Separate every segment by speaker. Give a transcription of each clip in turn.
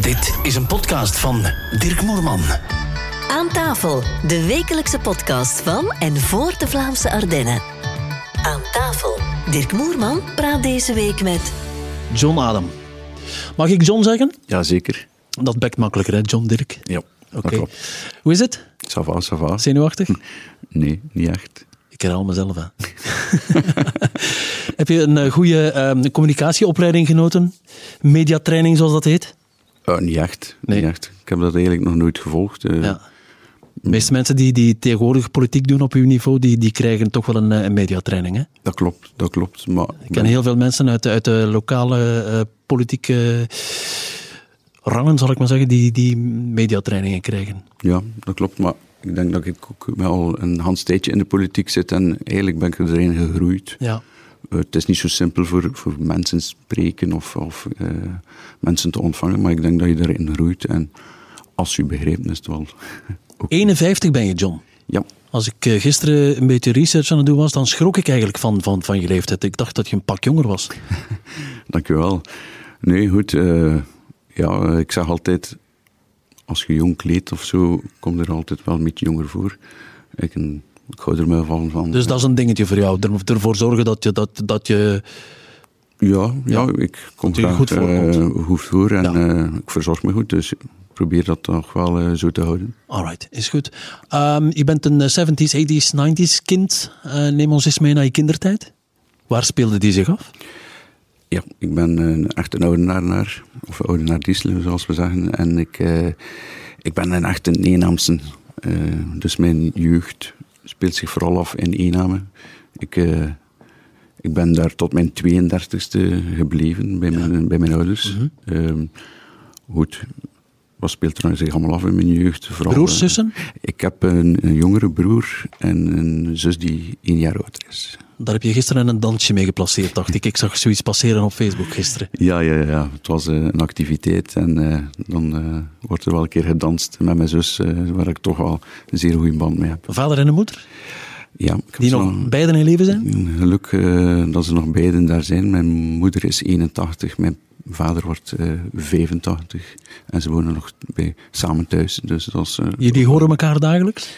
Speaker 1: Dit is een podcast van Dirk Moerman.
Speaker 2: Aan tafel, de wekelijkse podcast van en voor de Vlaamse Ardennen. Aan tafel, Dirk Moerman praat deze week met.
Speaker 3: John Adam. Mag ik John zeggen?
Speaker 4: Jazeker.
Speaker 3: Dat bekt makkelijker, hè, John Dirk?
Speaker 4: Ja,
Speaker 3: Oké.
Speaker 4: dat klopt. Hm.
Speaker 3: Hoe is het?
Speaker 4: Ça va, ça va.
Speaker 3: Zenuwachtig?
Speaker 4: Nee, niet echt.
Speaker 3: Ik herhaal mezelf aan. Heb je een eh, goede eh, communicatieopleiding genoten? Mediatraining, zoals dat heet?
Speaker 4: Eh, niet echt.
Speaker 3: Nee.
Speaker 4: Niet echt. Ik heb dat eigenlijk nog nooit gevolgd. eh.
Speaker 3: Ja. De meeste mensen die, die tegenwoordig politiek doen op uw niveau, die, die krijgen toch wel een, eh, een mediatraining. Hè?
Speaker 4: Dat klopt, dat klopt. Maar
Speaker 3: Ik ken heel veel mensen uit de, uit de lokale eh, politieke rangen, zal ik maar zeggen, die, die mediatrainingen krijgen.
Speaker 4: Ja, dat klopt. Maar ik denk dat ik ook wel een hans tijdje in de politiek zit en eigenlijk ben ik erin gegroeid.
Speaker 3: Ja.
Speaker 4: Eh, het is niet zo simpel voor, voor mensen spreken of, of eh, mensen te ontvangen, maar ik denk dat je erin groeit. En als je begrepen is het wel... ook-
Speaker 3: 51 ben je, John.
Speaker 4: Ja,
Speaker 3: Als ik eh, gisteren een beetje research aan het doen was, dan schrok ik eigenlijk van, van, van je leeftijd. Ik dacht dat je een pak jonger was.
Speaker 4: Dankjewel. Nee, goed. eh, ja, eh, ik zeg altijd, als je jong kleedt of zo, komt er altijd wel een beetje jonger voor. Ik, een- ik hou er mij van. van.
Speaker 3: Dus dat is een dingetje voor jou. Er- Ervoor zorgen dat je, dat, dat je
Speaker 4: ja, ja, ik kom
Speaker 3: Dat je er
Speaker 4: graag
Speaker 3: goed
Speaker 4: goed
Speaker 3: voor
Speaker 4: voor, goed voor en
Speaker 3: Ja.
Speaker 4: eh, ik verzorg me goed. Dus ik probeer dat toch wel eh, zo te houden.
Speaker 3: Alright, is goed. Ehm, je bent een eh, 70s, 80s, 90s kind. Eh, neem ons eens mee naar je kindertijd. Waar speelde die zich af?
Speaker 4: Ja, ik ben eh, een echte oudenaar, of oudenaar Diesel, zoals we zeggen. En ik, eh, ik ben een echte Nederlandse. dus mijn jeugd speelt zich vooral af in Ename. Ik, eh, ik ben daar tot mijn 32e gebleven bij mijn, bij mijn ouders.
Speaker 3: Mhm.
Speaker 4: Ehm, goed, wat speelt er nou zich allemaal af in mijn jeugd? Vooral,
Speaker 3: Broers,
Speaker 4: eh,
Speaker 3: zussen?
Speaker 4: ik heb een, een jongere broer en een zus die één jaar ouder is.
Speaker 3: Daar heb je gisteren een dansje mee geplaceerd, dacht ik. Ik zag zoiets passeren op Facebook gisteren.
Speaker 4: Ja, ja, ja. Het was eh, een activiteit en eh, dan eh, wordt er wel een keer gedanst met mijn zus, eh, waar ik toch wel een zeer goede band mee heb.
Speaker 3: Een vader en een moeder,
Speaker 4: Ja, ik heb
Speaker 3: die
Speaker 4: ze
Speaker 3: nog beiden in leven zijn.
Speaker 4: Geluk eh, dat ze nog beiden daar zijn. Mijn moeder is 81, mijn vader wordt eh 85 en ze wonen nog bij, samen thuis. Dus dat is, eh,
Speaker 3: Jullie horen elkaar dagelijks?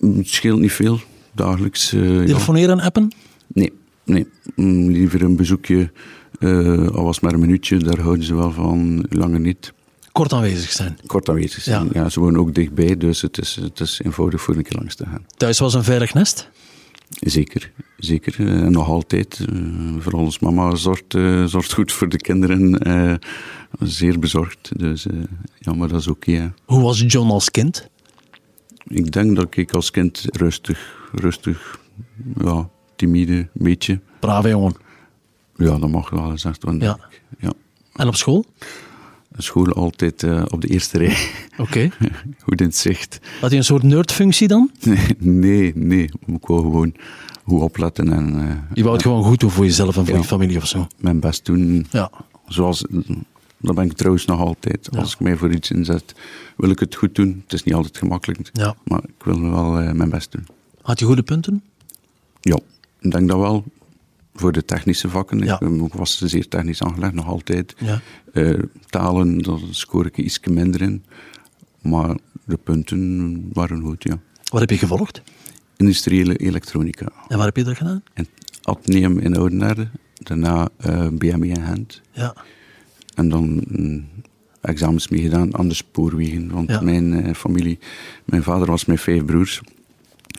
Speaker 4: het scheelt niet veel dagelijks. eh, ja.
Speaker 3: Telefoneren en appen?
Speaker 4: Nee, nee. Mm, Liever een bezoekje, eh, al was het maar een minuutje, daar houden ze wel van, langer niet.
Speaker 3: Kort aanwezig zijn.
Speaker 4: kort aanwezig zijn.
Speaker 3: Ja.
Speaker 4: Ja. ze wonen ook dichtbij, dus het is, het is eenvoudig voor een keer langs te gaan.
Speaker 3: Thuis was een veilig nest.
Speaker 4: Zeker, zeker. Eh, nog altijd. Eh, vooral ons mama zorgt, eh, zorgt goed voor de kinderen. eh, zeer bezorgd. Dus eh, ja, maar dat is oké. hè.
Speaker 3: Hoe was John als kind?
Speaker 4: ik denk dat ik als kind rustig, rustig, ja, timide, een beetje.
Speaker 3: Brave jongen.
Speaker 4: Ja, dat mag wel eens echt. want
Speaker 3: Ja.
Speaker 4: ik- ja.
Speaker 3: En op school?
Speaker 4: School altijd eh, op de eerste rij.
Speaker 3: Oké.
Speaker 4: goed in het zicht.
Speaker 3: Had hij een soort nerdfunctie dan?
Speaker 4: Nee, nee, nee. Ik wou gewoon goed opletten en eh,
Speaker 3: Je wou het gewoon goed doen voor jezelf en voor
Speaker 4: Ja.
Speaker 3: je familie of zo.
Speaker 4: mijn best doen.
Speaker 3: Ja.
Speaker 4: Zoals, dat ben ik trouwens nog altijd. Als ik mij voor iets inzet, wil ik het goed doen. Het is niet altijd gemakkelijk,
Speaker 3: Ja.
Speaker 4: maar ik wil wel eh, mijn best doen.
Speaker 3: Had je goede punten?
Speaker 4: Ja, ik denk dat wel. Voor de technische vakken.
Speaker 3: Ja.
Speaker 4: Ik ben ook- was zeer technisch aangelegd, nog altijd.
Speaker 3: Ja.
Speaker 4: Eh, talen, daar scoor ik iets minder in. Maar de punten waren goed, ja.
Speaker 3: Wat heb je gevolgd?
Speaker 4: Industriële elektronica.
Speaker 3: En waar heb je dat gedaan?
Speaker 4: En Adneum in Oudenaarde. Daarna eh BME in Gent.
Speaker 3: Ja.
Speaker 4: En dan mm, examens meegedaan aan de spoorwegen. Want
Speaker 3: Ja.
Speaker 4: mijn eh, familie, mijn vader was met vijf broers.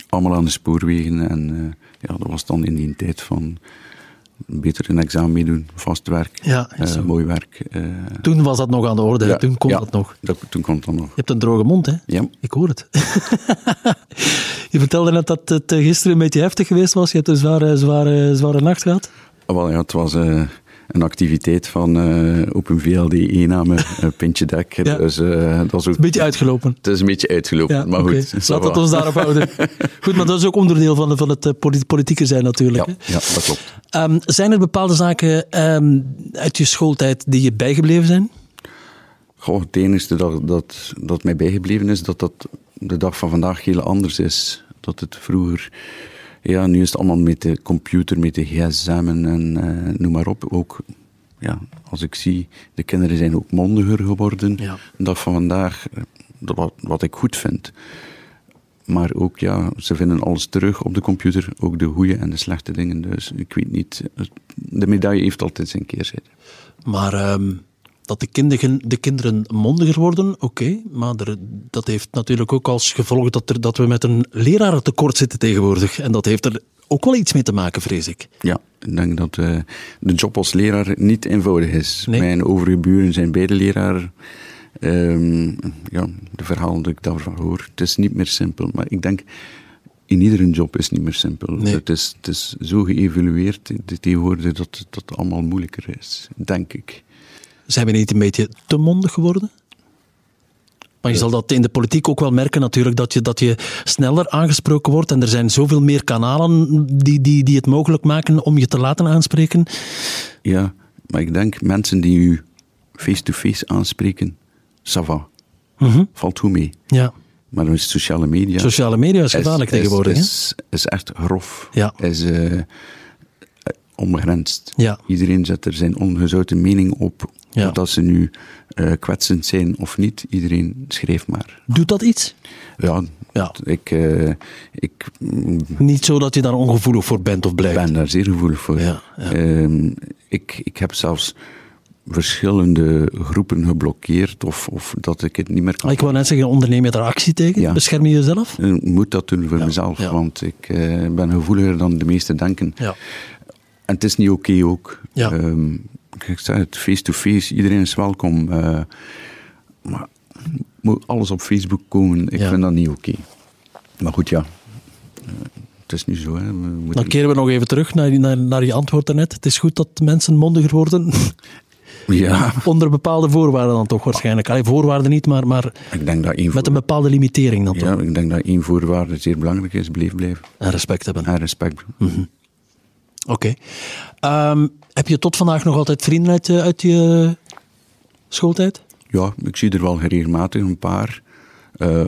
Speaker 4: Allemaal aan de spoorwegen. En eh, ja, dat was dan in die tijd van beter een examen meedoen, vast werk,
Speaker 3: Ja, is
Speaker 4: eh,
Speaker 3: zo.
Speaker 4: mooi werk. eh.
Speaker 3: Toen was dat nog aan de orde. hè?
Speaker 4: Ja,
Speaker 3: Toen kon
Speaker 4: ja,
Speaker 3: dat nog.
Speaker 4: dat- toen kon dat nog.
Speaker 3: Je hebt een droge mond, hè?
Speaker 4: Ja.
Speaker 3: Ik hoor het. je vertelde net dat het eh, gisteren een beetje heftig geweest was. Je hebt een zware, zware, zware nacht gehad.
Speaker 4: Ah, Wel, ja, het was eh, een activiteit van eh Open VLD Ename, eh, Pintje Dek.
Speaker 3: Ja.
Speaker 4: Dus eh, dat is ook,
Speaker 3: Een beetje uitgelopen.
Speaker 4: het is een beetje uitgelopen,
Speaker 3: Ja,
Speaker 4: maar
Speaker 3: oké.
Speaker 4: goed. ça
Speaker 3: Laten we
Speaker 4: va.
Speaker 3: het ons daarop houden. Goed, maar dat is ook onderdeel van, van het eh, polit- politieke zijn natuurlijk.
Speaker 4: Ja,
Speaker 3: hè?
Speaker 4: ja, dat klopt.
Speaker 3: Ehm, zijn er bepaalde zaken ehm, uit je schooltijd die je bijgebleven zijn?
Speaker 4: Goh, het enige dat, dat, dat mij bijgebleven is, dat dat de dag van vandaag heel anders is. Dat het vroeger... Ja, nu is het allemaal met de computer, met de gsm'en en eh, noem maar op. Ook ja, als ik zie, de kinderen zijn ook mondiger geworden.
Speaker 3: Ja.
Speaker 4: Dat van vandaag, eh, dat wat, wat ik goed vind. Maar ook, ja, ze vinden alles terug op de computer. Ook de goede en de slechte dingen. Dus ik weet niet. eh, De medaille heeft altijd zijn keerzijde.
Speaker 3: Maar ehm, dat de kinderen, de kinderen mondiger worden, oké. maar er- dat heeft natuurlijk ook als gevolg dat, er, dat we met een lerarentekort zitten tegenwoordig. En dat heeft er ook wel iets mee te maken, vrees ik.
Speaker 4: Ja, ik denk dat eh, de job als leraar niet eenvoudig is.
Speaker 3: Nee.
Speaker 4: Mijn overige buren zijn beide leraar. Ehm, ja, de verhalen die ik daarvan hoor, het is niet meer simpel. Maar ik denk, in iedere job is het niet meer simpel.
Speaker 3: Nee.
Speaker 4: Het, is, het is zo geëvalueerd eh, tegenwoordig dat het- dat het allemaal moeilijker is, denk ik.
Speaker 3: Zijn we niet een beetje te mondig geworden? Maar je zal dat in de politiek ook wel merken natuurlijk, dat je, dat je sneller aangesproken wordt. En er zijn zoveel meer kanalen die, die, die het mogelijk maken om je te laten aanspreken.
Speaker 4: Ja, maar ik denk mensen die u face-to-face aanspreken, ça va,
Speaker 3: Mhm,
Speaker 4: valt goed mee.
Speaker 3: Ja.
Speaker 4: Maar met sociale media...
Speaker 3: Sociale media is gevaarlijk tegenwoordig. hè?
Speaker 4: Is, is echt grof.
Speaker 3: Ja.
Speaker 4: Is eh, eh, onbegrensd.
Speaker 3: Ja.
Speaker 4: Iedereen zet er zijn ongezouten mening op.
Speaker 3: Ja.
Speaker 4: Of dat ze nu eh, kwetsend zijn of niet. Iedereen schreef maar.
Speaker 3: Doet dat iets?
Speaker 4: Ja,
Speaker 3: Ja.
Speaker 4: ik, eh, ik mm,
Speaker 3: Niet zo dat je daar ongevoelig voor bent of blijft.
Speaker 4: ben daar zeer gevoelig voor.
Speaker 3: Ja, ja.
Speaker 4: Ehm, ik, ik heb zelfs verschillende groepen geblokkeerd of, of dat ik het niet meer kan
Speaker 3: Ah, ik wou net zeggen, onderneem je daar actie tegen?
Speaker 4: Ja.
Speaker 3: Bescherm je jezelf?
Speaker 4: Eh, moet dat doen voor mezelf,
Speaker 3: ja.
Speaker 4: want ik eh, ben gevoeliger dan de meesten denken.
Speaker 3: Ja.
Speaker 4: En het is niet oké ook.
Speaker 3: Ja.
Speaker 4: Ehm, ik zeg het, face-to-face, iedereen is welkom. eh, maar moet alles op Facebook komen, ik
Speaker 3: Ja.
Speaker 4: vind dat niet oké. Maar goed, ja. Eh, het is nu zo, hè. We moeten-
Speaker 3: Dan keren we nog even terug naar, naar, naar je antwoord daarnet. Het is goed dat mensen mondiger worden.
Speaker 4: Ja,
Speaker 3: Onder bepaalde voorwaarden dan toch waarschijnlijk. Allee, voorwaarden niet, maar, maar
Speaker 4: ik denk dat één
Speaker 3: met een bepaalde limitering dan
Speaker 4: voor-
Speaker 3: toch.
Speaker 4: ja, ik denk dat één voorwaarde zeer belangrijk is, bleef blijven.
Speaker 3: En respect hebben.
Speaker 4: En respect.
Speaker 3: Mhm. Oké. Ehm, heb je tot vandaag nog altijd vrienden uit, je- uit je schooltijd?
Speaker 4: Ja, ik zie er wel regelmatig een paar. Eh,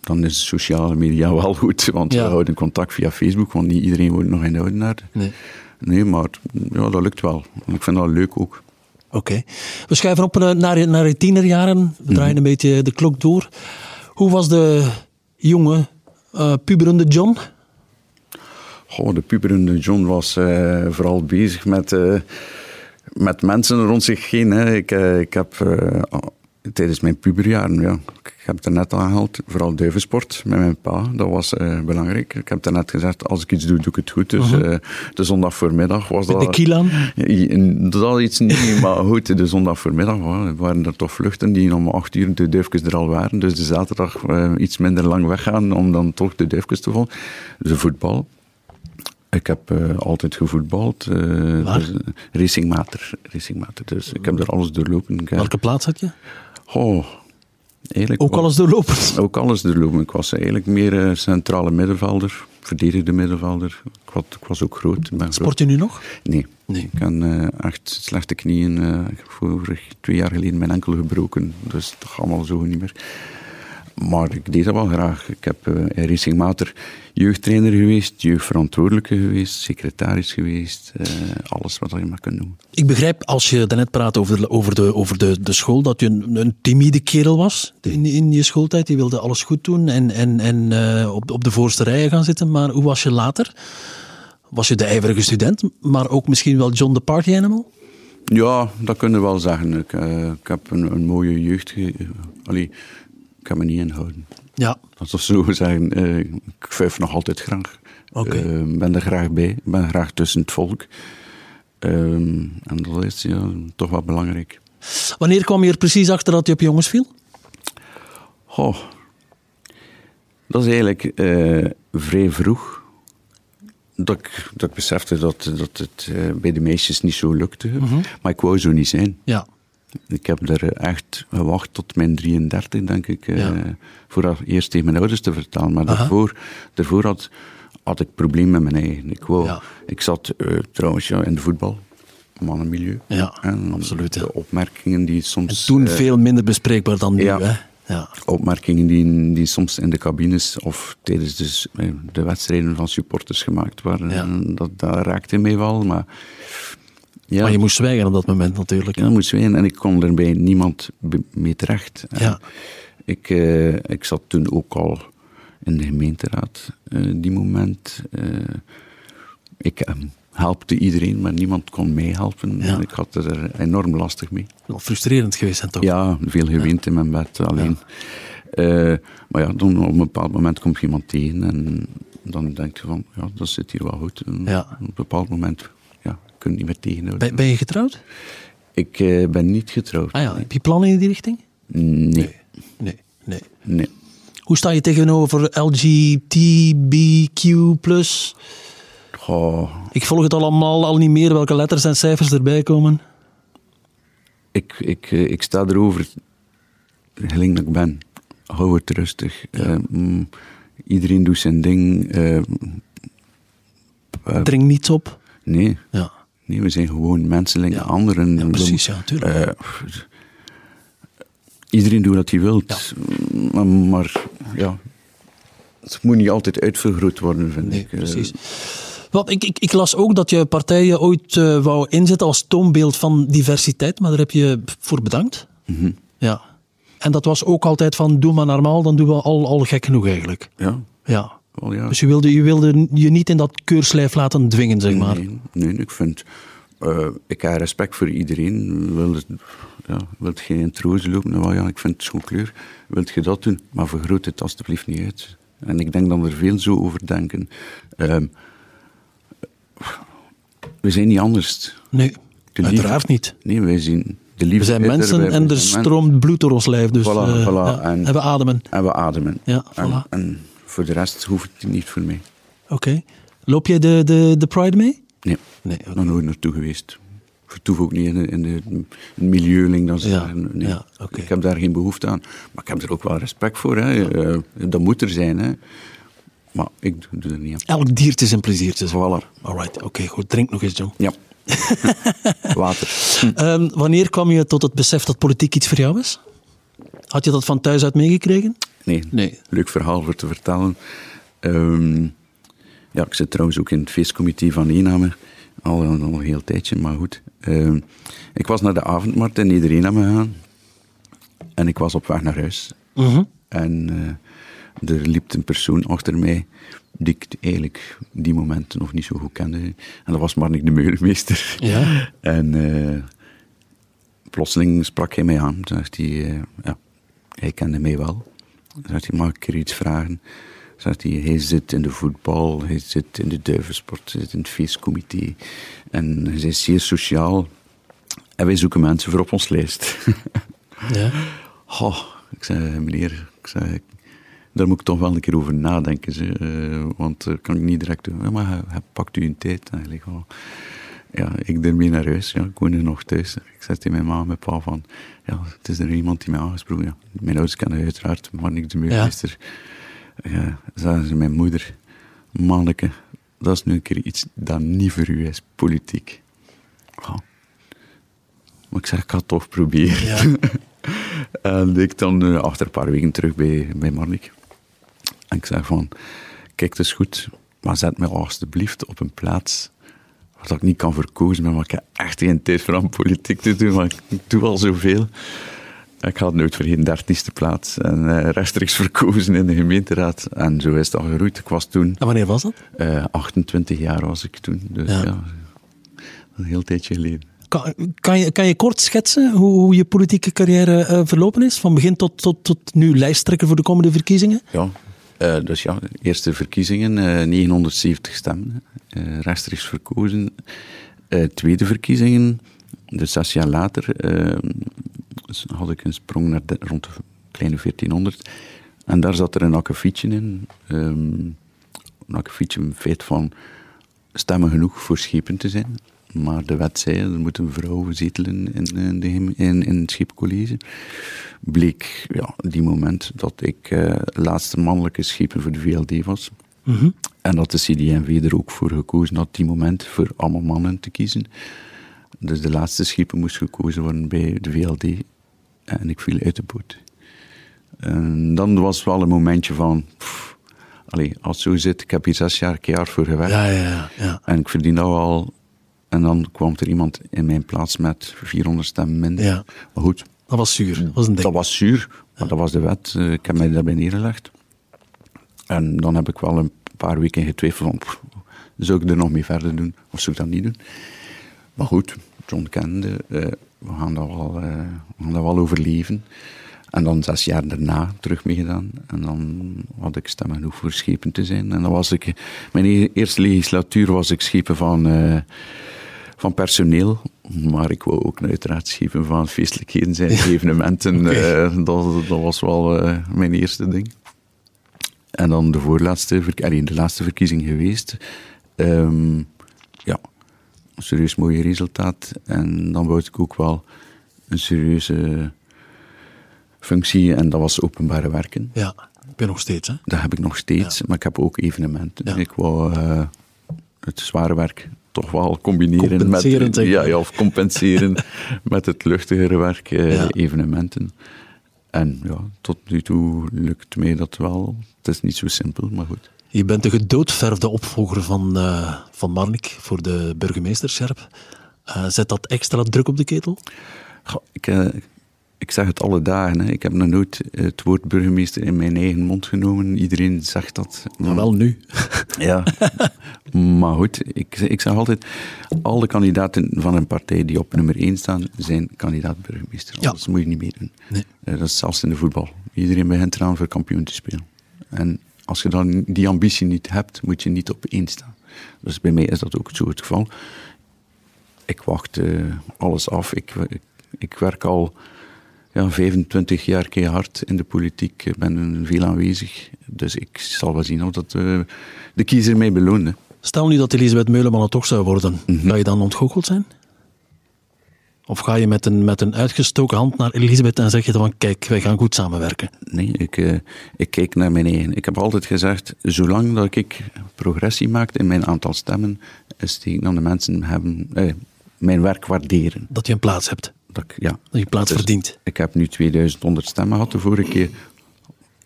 Speaker 4: dan is sociale media wel goed, want
Speaker 3: Ja.
Speaker 4: we houden contact via Facebook, want niet iedereen woont nog in Oudenaarde.
Speaker 3: Nee.
Speaker 4: Nee, maar ja, dat lukt wel. Ik vind dat leuk ook.
Speaker 3: Oké. We schuiven op eh, naar, je- naar je tienerjaren.
Speaker 4: Mhm.
Speaker 3: We draaien een beetje de klok door. Hoe was de jonge, eh, puberende John?
Speaker 4: Goh, de puberende John was eh, vooral bezig met, eh, met mensen rond zich heen. Hè. Ik, eh, ik heb eh, al- tijdens mijn puberjaren, ja, ik heb het er net aangehaald, vooral duivensport met mijn pa. Dat was eh, belangrijk. Ik heb daarnet gezegd, als ik iets doe, doe ik het goed. Dus eh, de zondag voormiddag was
Speaker 3: Met
Speaker 4: dat...
Speaker 3: de kiel aan?
Speaker 4: Ja, Dat iets niet, maar goed, de zondagvoormiddag wa- waren er toch vluchten die om acht uur de duifjes er al waren. Dus de zaterdag eh, iets minder lang weggaan om dan toch de duifjes te volgen. Dus voetbal. Ik heb eh, altijd gevoetbald. eh,
Speaker 3: Waar?
Speaker 4: dus, eh, racingmater, racingmater. Dus ik heb er alles doorlopen. Ik heb-
Speaker 3: Welke plaats had je?
Speaker 4: Goh, eigenlijk
Speaker 3: Ook
Speaker 4: wel-
Speaker 3: alles doorlopen.
Speaker 4: ook alles doorlopen. Ik was eigenlijk meer eh, centrale middenvelder, verdedigde middenvelder. Ik was, ik was ook groot. Ik ben groot.
Speaker 3: Sport je nu nog?
Speaker 4: Nee.
Speaker 3: Nee.
Speaker 4: Ik heb eh, echt slechte knieën. eh, ik heb vorig twee jaar geleden mijn enkel gebroken. Dus dat gaat allemaal zo niet meer. Maar ik deed dat wel graag. Ik heb eh in Racing Mater jeugdtrainer geweest, jeugdverantwoordelijke geweest, secretaris geweest. eh, alles wat je maar kunt doen.
Speaker 3: Ik begrijp, als je daarnet praat over, de- over, de, over de, de school, dat je een, een timide kerel was in, in je schooltijd. Die wilde alles goed doen en, en, en eh, op, op de voorste rijen gaan zitten. Maar hoe was je later? Was je de ijverige student, maar ook misschien wel John the Party Animal?
Speaker 4: Ja, dat kun je wel zeggen. Ik, eh, ik heb een, een mooie jeugd. Ge- eh, Allee, ik kan me niet inhouden.
Speaker 3: Ja.
Speaker 4: Laten we zo zeggen, eh, ik vijf nog altijd graag.
Speaker 3: Oké.
Speaker 4: Eh, ben er graag bij, Ik ben graag tussen het volk. Ehm, en dat is ja, toch wel belangrijk.
Speaker 3: Wanneer kwam je er precies achter dat je op jongens viel?
Speaker 4: Goh, dat is eigenlijk eh, vrij vroeg dat ik, dat ik besefte dat, dat het eh, bij de meisjes niet zo lukte. Maar ik wou zo niet zijn.
Speaker 3: Ja.
Speaker 4: Ik heb er eh, echt gewacht tot mijn 33, denk ik, eh,
Speaker 3: Ja.
Speaker 4: voor dat eerst tegen mijn ouders te vertellen. Maar daarvoor, daarvoor had, had ik problemen met mijn eigen. Ik, wou,
Speaker 3: Ja.
Speaker 4: ik zat eh, trouwens ja, in de voetbal, mannenmilieu.
Speaker 3: Ja,
Speaker 4: En
Speaker 3: absoluut, ja.
Speaker 4: De opmerkingen die
Speaker 3: En
Speaker 4: soms...
Speaker 3: toen
Speaker 4: eh,
Speaker 3: veel minder bespreekbaar dan nu,
Speaker 4: ja.
Speaker 3: hè? Ja.
Speaker 4: opmerkingen die, die soms in de cabines of tijdens dus, eh, de wedstrijden van supporters gemaakt waren.
Speaker 3: Ja.
Speaker 4: En Dat, dat raakte mij wel, maar Ja.
Speaker 3: Maar je moest zwijgen op dat moment natuurlijk.
Speaker 4: Ja, dat moet zijn. En ik kon er bij niemand be- mee terecht. En
Speaker 3: Ja.
Speaker 4: Ik, eh, ik zat toen ook al in de gemeenteraad, eh, die moment. Eh, ik eh, helpte iedereen, maar niemand kon mij helpen.
Speaker 3: Ja.
Speaker 4: En ik had er enorm lastig mee.
Speaker 3: Wel frustrerend geweest zijn toch?
Speaker 4: Ja, veel gewind in mijn bed, alleen. Eh, maar ja, dan op een bepaald moment komt iemand tegen en dan denk je van, ja, dat zit hier wel goed. En
Speaker 3: Ja.
Speaker 4: Op een bepaald moment, ja, kun je niet meer tegenhouden.
Speaker 3: Ben, ben je getrouwd?
Speaker 4: Ik eh, ben niet getrouwd.
Speaker 3: Ah ja, heb je plannen in die richting?
Speaker 4: Nee,
Speaker 3: Nee, nee.
Speaker 4: nee.
Speaker 3: Hoe sta je tegenover LGTBQ+.
Speaker 4: Goh,
Speaker 3: Ik volg het allemaal al niet meer, welke letters en cijfers erbij komen.
Speaker 4: ik, ik, eh, ik sta erover, gelijk dat ik ben. Hou het rustig. Eh, mm, iedereen doet zijn ding. Eh,
Speaker 3: Dring niets op.
Speaker 4: nee.
Speaker 3: Ja,
Speaker 4: nee, we zijn gewoon menseling. Anderen.
Speaker 3: ja precies, ja, tuurlijk.
Speaker 4: Eh, iedereen doet wat hij wil. Maar, maar ja, het moet niet altijd uitvergroot worden, vind
Speaker 3: Nee,
Speaker 4: ik. Eh,
Speaker 3: precies. Want ik, ik, ik las ook dat je partijen ooit eh, wou inzetten als toonbeeld van diversiteit, maar daar heb je voor bedankt. Ja. En dat was ook altijd van doe maar normaal, dan doen we al, al gek genoeg eigenlijk.
Speaker 4: ja,
Speaker 3: Ja.
Speaker 4: wel ja.
Speaker 3: Dus je wilde, je wilde je niet in dat keurslijf laten dwingen, zeg maar.
Speaker 4: Nee, nee, ik vind... eh, ik heb respect voor iedereen. Wil het- ja, wilt je in troos lopen? Nou ja, ik vind het zo'n kleur. Wilt je dat doen? Maar vergroot het alstublieft niet uit. En ik denk dat we er veel zo over denken. Ehm, we zijn niet anders.
Speaker 3: Nee,
Speaker 4: lief-
Speaker 3: uiteraard niet.
Speaker 4: Nee, wij zien de liefde.
Speaker 3: We zijn
Speaker 4: is er, wij
Speaker 3: mensen en
Speaker 4: zijn
Speaker 3: er
Speaker 4: mensen.
Speaker 3: stroomt bloed door ons lijf. Dus,
Speaker 4: Voilà,
Speaker 3: eh,
Speaker 4: voilà,
Speaker 3: ja,
Speaker 4: en-
Speaker 3: en we ademen.
Speaker 4: En we ademen.
Speaker 3: Ja,
Speaker 4: en,
Speaker 3: voilà.
Speaker 4: en voor de rest hoeft het niet voor mij.
Speaker 3: Oké. Loop jij de, de, de Pride mee?
Speaker 4: Nee,
Speaker 3: Nee,
Speaker 4: nog nooit naartoe geweest. Ik vertoef ook niet in, de- in, de, in het milieuling. Dan ze
Speaker 3: Ja,
Speaker 4: zeggen, nee.
Speaker 3: ja, oké.
Speaker 4: Ik heb daar geen behoefte aan. Maar ik heb er ook wel respect voor. Hè. Eh, dat moet er zijn. Hè. Maar ik doe- doe er niet aan.
Speaker 3: Elk diertje is een pleziertje. zeg.
Speaker 4: Voilà.
Speaker 3: Alright, oké, goed. Drink nog eens, John.
Speaker 4: Ja. Water.
Speaker 3: Ehm, wanneer kwam je tot het besef dat politiek iets voor jou is? Had je dat van thuis uit meegekregen?
Speaker 4: Nee,
Speaker 3: Nee.
Speaker 4: leuk verhaal voor te vertellen. Ehm, ja, ik zit trouwens ook in het feestcomité van Eename. Al, een- al een heel tijdje, maar goed. Ehm, ik was naar de avondmarkt in Neder-Eename gegaan. En ik was op weg naar huis. En eh, er liep een persoon achter mij die ik eigenlijk die momenten nog niet zo goed kende. En dat was Marnik de Meulenmeester.
Speaker 3: Ja.
Speaker 4: En eh, plotseling sprak hij mij aan. Toen zegt hij, eh, ja, hij kende mij wel. Toen zegt hij, mag ik er iets vragen? Toen zegt hij, hij zit in de voetbal, hij zit in de duivensport, hij zit in het feestcomité. En hij is zeer sociaal. En wij zoeken mensen voor op ons lijst.
Speaker 3: Ja.
Speaker 4: Oh, ik zei, meneer, ik zei, daar moet ik toch wel een keer over nadenken. Ze, eh, want dat kan ik niet direct doen. Ja, maar hij, hij pakt u een tijd eigenlijk wel. Ja, ik ermee naar huis. Ja, ik woonde nog thuis. Ik zei tegen mijn ma en mijn pa van... Ja, het is er iemand die mij aangesproken heeft. Ja, mijn ouders kennen uiteraard, maar ik de meurmeester. Ja, zagen ze mijn moeder. Manneke, dat is nu een keer iets dat niet voor u is. Politiek. Ja. Maar ik zeg, ik ga het toch proberen. En ik dan eh, achter een paar weken terug bij, bij Marnik. En ik zeg van, kijk, het is goed, maar zet mij alstublieft op een plaats wat ik niet kan verkozen ben, want ik heb echt geen tijd voor aan politiek te doen, want ik doe al zoveel. Ik had nooit vergeten, dertiende plaats. En eh, rechtstreeks verkozen in de gemeenteraad. En zo is dat geroeid. Ik was toen,
Speaker 3: En wanneer was dat?
Speaker 4: eh, 28 jaar was ik toen. Dus
Speaker 3: Ja.
Speaker 4: ja, een heel tijdje geleden.
Speaker 3: Kan, kan, je, kan je kort schetsen hoe, hoe je politieke carrière eh, verlopen is? Van begin tot, tot, tot nu lijsttrekker voor de komende verkiezingen?
Speaker 4: Ja, eh, dus ja, eerste verkiezingen, eh, 970 stemmen, eh, rechtstreeks verkozen. Eh, tweede verkiezingen, dus zes jaar later, eh, dus had ik een sprong naar de- rond de kleine 1400. En daar zat er een akkefietje in. Ehm, een akkefietje in feit van stemmen genoeg voor schepen te zijn. Maar de wet zei, er moet een vrouw zetelen in, eh, de gem- in, in het scheepcollege bleek ja, die moment dat ik eh, laatste mannelijke schepen voor de VLD was. En dat de CD&V er ook voor gekozen had, die moment, voor allemaal mannen te kiezen. Dus de laatste schepen moest gekozen worden bij de VLD. En ik viel uit de boot. En dan was wel een momentje van... pff, allee, als het zo zit, ik heb hier zes jaar keihard voor gewerkt.
Speaker 3: ja, ja.
Speaker 4: En ik verdien dat wel En dan kwam er iemand in mijn plaats met 400 stemmen minder.
Speaker 3: Ja.
Speaker 4: Maar goed,
Speaker 3: Dat was zuur. Dat was een ding.
Speaker 4: dat was zuur, maar dat was de wet. Eh, Ik heb mij daarbij neergelegd. En dan heb ik wel een paar weken getwijfeld van, pff, zou ik er nog mee verder doen of zou ik dat niet doen? Maar goed, John kende, eh, we, gaan dat wel, eh, we gaan dat wel overleven. En dan zes jaar daarna terug meegedaan. En dan had ik stemmen genoeg voor schepen te zijn. En dan was ik, mijn e- eerste legislatuur was ik schepen van... eh, van personeel, maar ik wou ook uiteraard schepen van feestelijkheden zijn, evenementen. eh, dat, dat was wel eh, mijn eerste ding. En dan de voorlaatste, verk- allee, de laatste verkiezing geweest. Ehm, ja, een serieus mooi resultaat. En dan wou ik ook wel een serieuze functie, en dat was openbare werken.
Speaker 3: Ja, ik ben nog steeds. Hè?
Speaker 4: Dat heb ik nog steeds, maar ik heb ook evenementen.
Speaker 3: Ja.
Speaker 4: Ik wou eh, het zware werk toch wel combineren met...
Speaker 3: Compenserend, zeg
Speaker 4: ja,
Speaker 3: maar.
Speaker 4: ja, of compenseren met het luchtigere werk, eh,
Speaker 3: Ja.
Speaker 4: evenementen. En ja, tot nu toe lukt mij dat wel. Het is niet zo simpel, maar goed.
Speaker 3: Je bent de gedoodverfde opvolger van, eh, van Marnik voor de burgemeester Scherp. Eh, zet dat extra druk op de ketel?
Speaker 4: Goh, ik, eh, ik zeg het alle dagen, hè. ik heb nog nooit het woord burgemeester in mijn eigen mond genomen. Iedereen zegt dat.
Speaker 3: Maar Nou, wel nu.
Speaker 4: Ja, maar goed, ik, ik zeg altijd, alle kandidaten van een partij die op nummer 1 staan, zijn kandidaat-burgemeester.
Speaker 3: Ja.
Speaker 4: Anders moet je niet meedoen.
Speaker 3: Nee.
Speaker 4: Eh, dat is zelfs in de voetbal. Iedereen begint eraan voor kampioen te spelen. En als je dan die ambitie niet hebt, moet je niet op één staan. Dus bij mij is dat ook zo het geval. Ik wacht eh, alles af. Ik, ik, ik werk al ja, 25 jaar keihard in de politiek. Ik ben veel aanwezig. Dus ik zal wel zien of dat, eh, de kiezer mij beloont. hè.
Speaker 3: Stel nu dat Elisabeth Meuleman het toch zou worden. Ga je dan ontgoocheld zijn? Of ga je met een, met een uitgestoken hand naar Elisabeth en zeg je dan van kijk, wij gaan goed samenwerken.
Speaker 4: Nee, ik, eh, ik keek naar mijn eigen. Ik heb altijd gezegd, zolang dat ik progressie maak in mijn aantal stemmen, is die dan de mensen hebben, eh, mijn werk waarderen.
Speaker 3: Dat je een plaats hebt.
Speaker 4: Dat ik, ja.
Speaker 3: Dat je plaats
Speaker 4: Dus
Speaker 3: verdient.
Speaker 4: Ik heb nu 2100 stemmen gehad de vorige keer.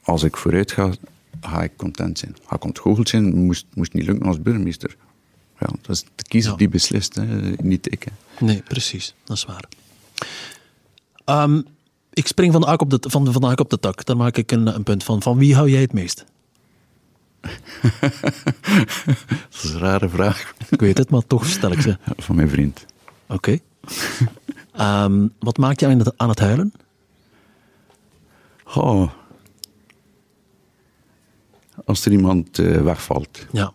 Speaker 4: Als ik vooruit ga, ga ik content zijn. Ga ik ontgoocheld zijn, moest, moest niet lukken als burgemeester. Ja, dat is de kiezer
Speaker 3: Ja.
Speaker 4: die beslist, hè, niet ik. hè.
Speaker 3: Nee, precies. Dat is waar. Ehm, ik spring van de, hak op de, van, van de hak op de tak. Daar maak ik een, een punt van. Van wie hou jij het meest?
Speaker 4: Dat is een rare vraag
Speaker 3: Ik weet het, maar toch stel ik ze.
Speaker 4: van mijn vriend.
Speaker 3: Oké. Ehm, wat maakt jou aan het, aan het huilen?
Speaker 4: Oh. Als er iemand eh, wegvalt.
Speaker 3: Ja.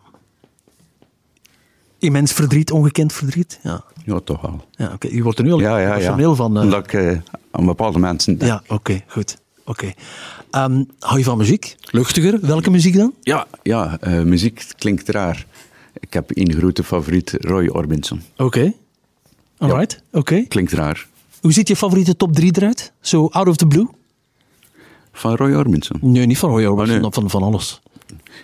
Speaker 3: Immens verdriet, ongekend verdriet? Ja.
Speaker 4: Ja, toch wel.
Speaker 3: Ja, oké. U wordt er nu al
Speaker 4: Ja, ja, ja.
Speaker 3: emotioneel van. eh,
Speaker 4: Omdat ik eh, aan bepaalde mensen denk.
Speaker 3: Ja, oké, goed. Oké. Ehm, hou je van muziek? Luchtiger? Welke muziek dan?
Speaker 4: Ja, ja eh, muziek klinkt raar. Ik heb één grote favoriet, Roy Orbison.
Speaker 3: Oké. Alright, oké.
Speaker 4: Klinkt raar.
Speaker 3: Hoe ziet je favoriete top 3 eruit? Zo out of the blue? Oh,
Speaker 4: Van Roy Orbison.
Speaker 3: Nee, niet van Roy Orbison,
Speaker 4: nee.
Speaker 3: van, van alles.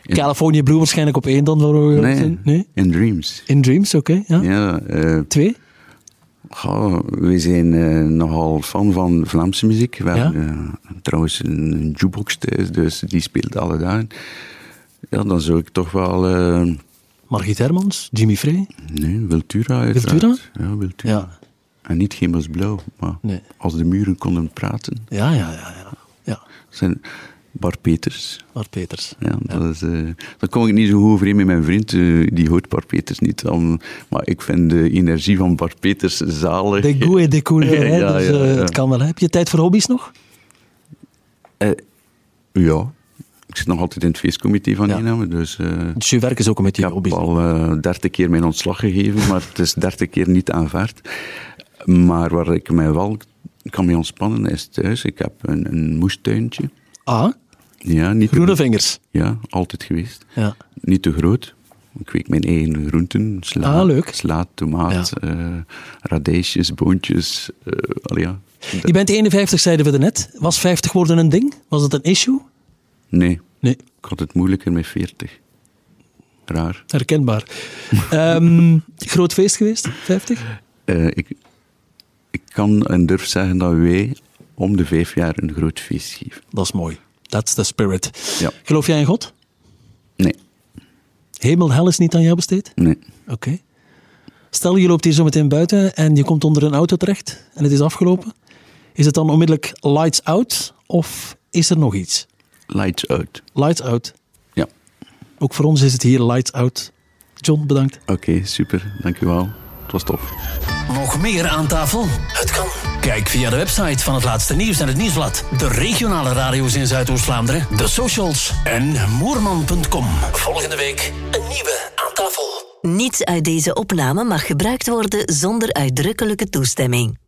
Speaker 4: In-
Speaker 3: California Blue waarschijnlijk op één dan van Roy Orbison? Nee.
Speaker 4: In Dreams.
Speaker 3: In Dreams, oké. ja.
Speaker 4: Ja, eh,
Speaker 3: Twee?
Speaker 4: Goh, we zijn eh, nogal fan van Vlaamse muziek. We
Speaker 3: Ja?
Speaker 4: hebben eh, trouwens een jukebox thuis, dus die speelt alle dagen. Ja, dan zou ik toch wel... eh,
Speaker 3: Margit Hermans, Jimmy Frey?
Speaker 4: nee, Wiltura uiteraard.
Speaker 3: Wiltura?
Speaker 4: Ja, Wiltura.
Speaker 3: Ja.
Speaker 4: En niet Hemelsblauw, maar
Speaker 3: Nee.
Speaker 4: als de muren konden praten.
Speaker 3: Ja, ja, ja. Ja, ja.
Speaker 4: zijn Bart Peters.
Speaker 3: Bart Peters.
Speaker 4: Ja, dat is, eh, daar kom ik niet zo goed overeen met mijn vriend, eh, die hoort Bart Peters niet. om- maar ik vind de energie van Bart Peters zalig.
Speaker 3: De goe et de couleur, hè.
Speaker 4: Ja,
Speaker 3: dus
Speaker 4: ja,
Speaker 3: eh,
Speaker 4: ja.
Speaker 3: het kan wel. hè. Heb je tijd voor hobby's nog?
Speaker 4: Ja, ik zit nog altijd in het feestcomité van
Speaker 3: Ja.
Speaker 4: Inname, dus... eh,
Speaker 3: Dus je werk is ook een beetje
Speaker 4: ik
Speaker 3: je
Speaker 4: heb
Speaker 3: hobby's.
Speaker 4: al eh, dertig keer mijn ontslag gegeven, maar het is dertig keer niet aanvaard. Maar waar ik mij wel kan mee ontspannen is thuis. Ik heb een, een moestuintje.
Speaker 3: Ah,
Speaker 4: Ja, niet te-
Speaker 3: groene vingers.
Speaker 4: Ja, altijd geweest.
Speaker 3: Ja.
Speaker 4: Niet te groot. Ik kweek mijn eigen groenten. Sla,
Speaker 3: Ah, leuk.
Speaker 4: sla tomaat,
Speaker 3: Ja.
Speaker 4: eh, radijsjes, boontjes. eh allee, ja.
Speaker 3: Je bent 51, zeiden we daarnet. Was 50 worden een ding? Was dat een issue?
Speaker 4: Nee,
Speaker 3: Nee,
Speaker 4: ik had het moeilijker met 40. Raar.
Speaker 3: herkenbaar. Ehm, groot feest geweest, 50?
Speaker 4: Eh, ik, ik kan en durf zeggen dat wij om de vijf jaar een groot feest geven.
Speaker 3: Dat is mooi. That's the spirit.
Speaker 4: Ja.
Speaker 3: Geloof jij in God?
Speaker 4: Nee,
Speaker 3: Hemel, hel is niet aan jou besteed?
Speaker 4: nee.
Speaker 3: Oké. Stel, je loopt hier zo meteen buiten en je komt onder een auto terecht en het is afgelopen. Is het dan onmiddellijk lights out of is er nog iets?
Speaker 4: Lights out.
Speaker 3: Lights out.
Speaker 4: Ja,
Speaker 3: Ook voor ons is het hier lights out. John, bedankt.
Speaker 4: oké, super. Dankjewel. Het was tof.
Speaker 1: Nog meer aan tafel? Het kan. Kijk via de website van het laatste nieuws en het nieuwsblad. De regionale radio's in Zuidoost-Vlaanderen, de socials en moerman.com. Volgende week een nieuwe aan tafel.
Speaker 2: Niets uit deze opname mag gebruikt worden zonder uitdrukkelijke toestemming.